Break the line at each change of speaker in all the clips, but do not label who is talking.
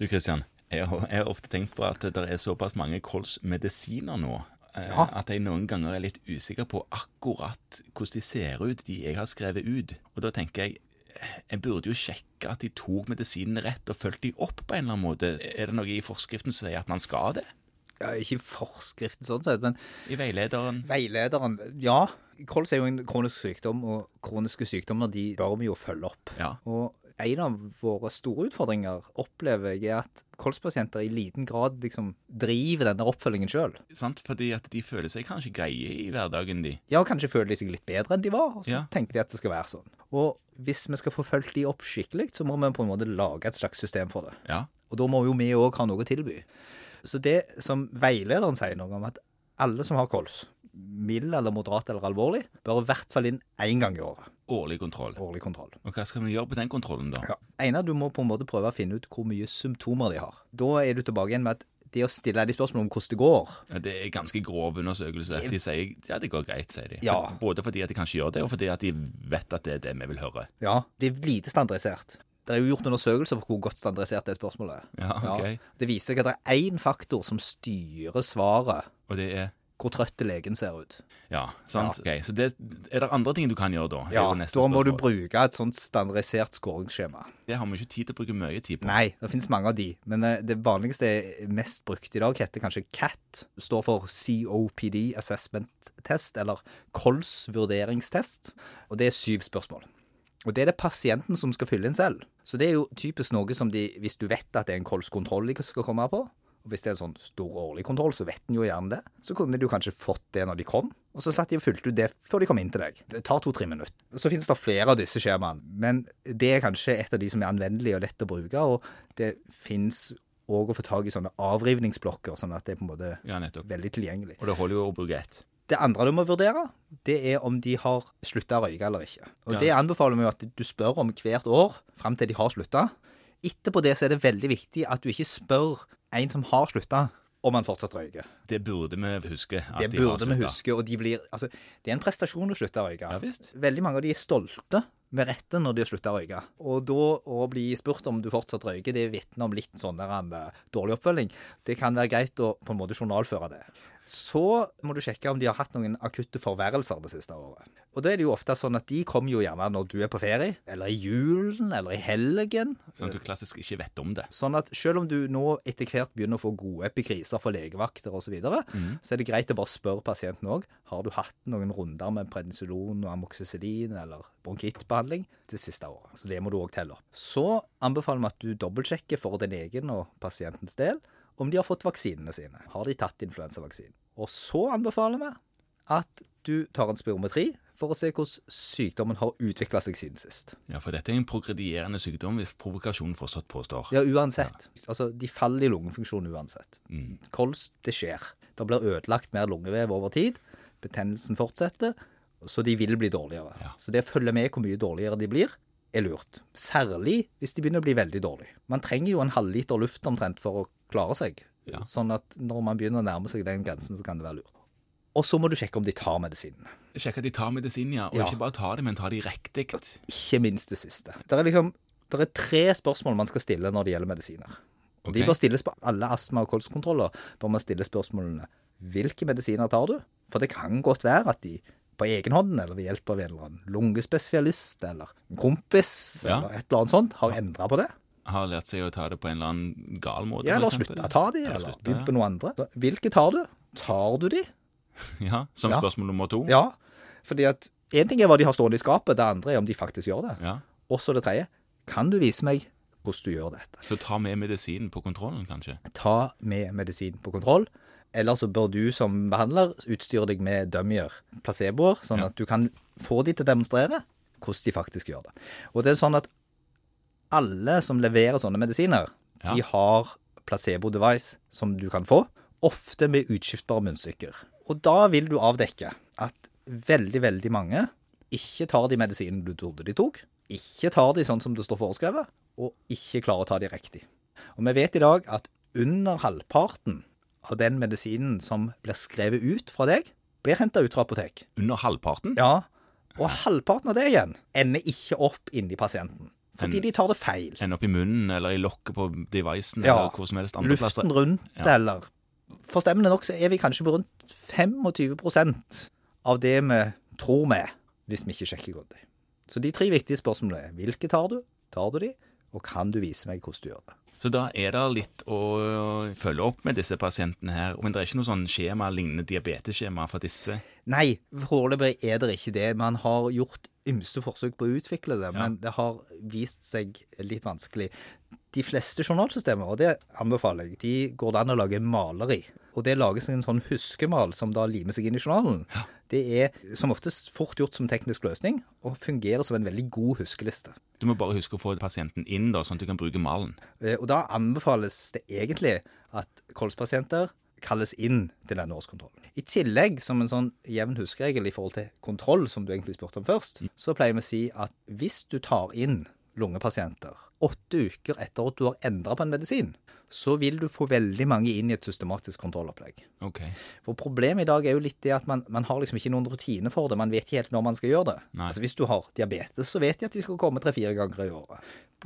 Du Kristian, jeg har, jeg har ofte tenkt på at det er såpass mange kolsmedisiner nå eh,
Ja.
at jeg noen ganger er litt usikker på akkurat hvordan de ser ut, de jeg har skrevet ut. Og da tenker jeg eh, jeg burde jo sjekke at de tok medisinene rett og fulgte de opp på en eller annen måte. Er det noe i forskriften som sier at man skal det?
Ja, ikke i forskriften sånn sett, men
I veilederen?
veilederen Ja, kols er jo en kronisk sykdom, og kroniske sykdommer de bør vi jo følge opp.
Ja.
Og en av våre store utfordringer opplever jeg er at kolspasienter i liten grad liksom driver denne oppfølgingen sjøl.
Sant? Fordi at de føler seg kanskje greie i hverdagen, de.
Ja, kanskje føler de seg litt bedre enn de var, og så
Ja.
tenker de at det skal være sånn. Og hvis vi skal få fulgt de opp skikkelig, så må vi på en måte lage et slags system for det.
Ja.
Og da må jo vi òg ha noe å tilby. Så det som veilederen sier noe om, at alle som har kols, mild eller moderat eller alvorlig, bør i hvert fall inn én gang i året.
Årlig kontroll.
Årlig kontroll.
Og hva skal vi gjøre på den kontrollen, da?
Ja. Einar, du må på en måte prøve å finne ut hvor mye symptomer de har. Da er du tilbake igjen med at det å stille de spørsmål om hvordan det går
Ja, Det er ganske grov undersøkelse. De sier ja, det går greit, sier de.
Ja.
Både fordi at de kanskje gjør det, og fordi at de vet at det er det vi vil høre.
Ja, det er lite standardisert. Det er jo gjort undersøkelser på hvor godt standardisert det spørsmålet er.
Ja, ok.
Det viser seg at det er én faktor som styrer svaret
Og det er
hvor trøtt legen ser ut.
Ja, sant? Ok, Så det, er det andre ting du kan gjøre da? Det er
Ja,
jo
Da
neste
må du
spørsmål.
bruke et sånt standardisert skåringsskjema.
Det har vi ikke tid til å bruke mye tid på.
Nei, det finnes mange av de, men eh, det vanligste er mest brukt i dag heter kanskje CAT. Det står for COPD Assessment Test, eller KOLS vurderingstest. Og det er syv spørsmål. Og det er det pasienten som skal fylle inn selv. Så det er jo typisk noe som de, hvis du vet at det er en KOLS-kontroll de skal komme på, og hvis det er en sånn stor årlig kontroll, så vet en jo gjerne det. Så kunne de jo kanskje fått det når de kom, og så satt de og fulgte ut det før de kom inn til deg. Det tar to-tre minutter. Så finnes det flere av disse skjemaene, men det er kanskje et av de som er anvendelig og lett å bruke, og det finnes òg å få tak i sånne avrivningsblokker, sånn at det er på en måte
Ja, nettopp.
veldig tilgjengelig.
Og det holder jo å bruke ett.
Det andre du må vurdere, det er om de har slutta å røyke eller ikke. Og
Ja.
det anbefaler vi jo at du spør om hvert år, fram til de har slutta. Etterpå det så er det veldig viktig at du ikke spør en som har slutta, om han fortsatt røyker.
Det burde vi huske. at
Det
de har
burde vi
sluttet.
huske, og de blir Altså, det er en prestasjon å slutte å røyke.
Ja visst.
Veldig mange av de er stolte med rette når de har slutta å røyke. Og da å bli spurt om du fortsatt røyker, det vitner om litt sånn der en eh, dårlig oppfølging. Det kan være greit å på en måte journalføre det. Så må du sjekke om de har hatt noen akutte forverrelser det siste året. Og da er det jo ofte sånn at de kommer jo gjerne når du er på ferie, eller i julen, eller i helgen.
Sånn at du klassisk ikke vet om det.
Sånn at selv om du nå etter hvert begynner å få gode epikriser for legevakter osv., så, videre, så er det greit å bare spørre pasienten òg har du hatt noen runder med prednisolon og amoxicillin eller bronkittbehandling det siste året. Så det må du òg telle opp. Så anbefaler vi at du dobbeltsjekker for din egen og pasientens del om de har fått vaksinene sine. Har de tatt influensavaksinen? Og så anbefaler vi at du tar en spirometri for å se hvordan sykdommen har utvikla seg siden sist.
Ja, For dette er en progredierende sykdom hvis provokasjonen fortsatt påstår.
Ja, uansett. Altså, de faller i lungefunksjon uansett.
Mm.
Kols, det skjer. Det blir ødelagt mer lungevev over tid. Betennelsen fortsetter, så de vil bli dårligere.
Ja.
Så det å følge med hvor mye dårligere de blir, er lurt. Særlig hvis de begynner å bli veldig dårlige. Man trenger jo en halvliter luft omtrent for å klare seg.
Ja.
Sånn at når man begynner å nærme seg den grensen, så kan det være lurt. Og så må du sjekke om de tar medisinene.
Sjekk at de tar medisiner, ja. Og
Ja.
ikke bare tar det, men tar de riktig.
ikke minst det siste. Det er liksom det er tre spørsmål man skal stille når det gjelder medisiner. Og
Ok.
De bør stilles på alle astma- og kolskontroller. bør man stille spørsmålene Hvilke medisiner tar du? For det kan godt være at de på egen hånd, eller ved hjelp av en eller annen lungespesialist eller en kompis,
Ja.
eller et eller annet sånt, har endra på det.
Har lært seg å ta det på en eller annen gal måte.
Ja,
for
eller
eksempel.
slutta å ta de,
Eller
eller
slutta,
begynt
ja.
på noe andre. Så, Hvilke tar du? Tar du de?
Ja, Som
Ja.
spørsmål nummer to.
Ja. Fordi at én ting er hva de har stående i skapet, det andre er om de faktisk gjør det.
Ja.
Også det tredje. Kan du vise meg hvordan du gjør dette?
Så ta med medisinen på kontrollen, kanskje.
ta med medisin på kontroll. Eller så bør du som behandler utstyre deg med dummier, placeboer, sånn
Ja.
at du kan få de til å demonstrere hvordan de faktisk gjør det. Og det er sånn at alle som leverer sånne medisiner,
Ja.
de har placebo-device som du kan få, ofte med utskiftbare munnstykker. Og da vil du avdekke at veldig, veldig mange ikke tar de medisinene du trodde de tok, ikke tar de sånn som det står foreskrevet, og ikke klarer å ta de riktig. Og vi vet i dag at under halvparten av den medisinen som blir skrevet ut fra deg, blir henta ut fra apotek.
Under halvparten?
Ja, og halvparten av det igjen ender ikke opp inni pasienten. Fordi de tar det feil.
enn oppi munnen eller i lokket på devicen
Ja.
eller hvor som helst andre plasser.
Luften rundt,
Ja.
eller Forstemmende nok så er vi kanskje på rundt 25 av det vi tror vi, er, hvis vi ikke sjekker grundig. Så de tre viktige spørsmålene er hvilke tar du, tar du de, og kan du vise meg hvordan du gjør det?
Så da er det litt å øh, følge opp med disse pasientene her. Men det er ikke noe sånn skjema lignende diabetesskjema for disse.
Nei, foreløpig er det ikke det. Man har gjort ymse forsøk på å utvikle det, men det har vist seg litt vanskelig. De fleste journalsystemer, og det anbefaler jeg, de går det an å lage maler i. Og det lages en sånn huskemal som da limer seg inn i journalen. Det er som oftest fort gjort som teknisk løsning, og fungerer som en veldig god huskeliste.
Du må bare huske å få pasienten inn, da, sånn at du kan bruke malen.
Eh, Og da anbefales det egentlig at kolspasienter kalles inn til denne årskontrollen. I tillegg, som en sånn jevn huskeregel i forhold til kontroll, som du egentlig spurte om først, så pleier vi å si at hvis du tar inn lungepasienter åtte uker etter at du har endra på en medisin, så vil du få veldig mange inn i et systematisk kontrollopplegg.
Ok.
For problemet i dag er jo litt det at man, man har liksom ikke noen rutine for det. Man vet ikke helt når man skal gjøre det.
Nei.
Altså Hvis du har diabetes, så vet de at de skal komme tre-fire ganger i året.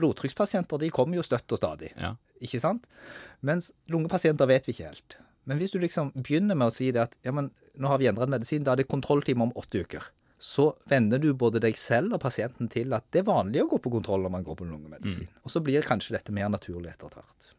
Blodtrykkspasienter de kommer jo støtt og stadig,
Ja.
ikke sant? Mens lungepasienter vet vi ikke helt. Men hvis du liksom begynner med å si det at ja, men nå har vi endret medisin, da er det kontrolltime om åtte uker. Så venner du både deg selv og pasienten til at det er vanlig å gå på kontroll når man går på lungemedisin. Og så blir kanskje dette mer naturlig etter hvert.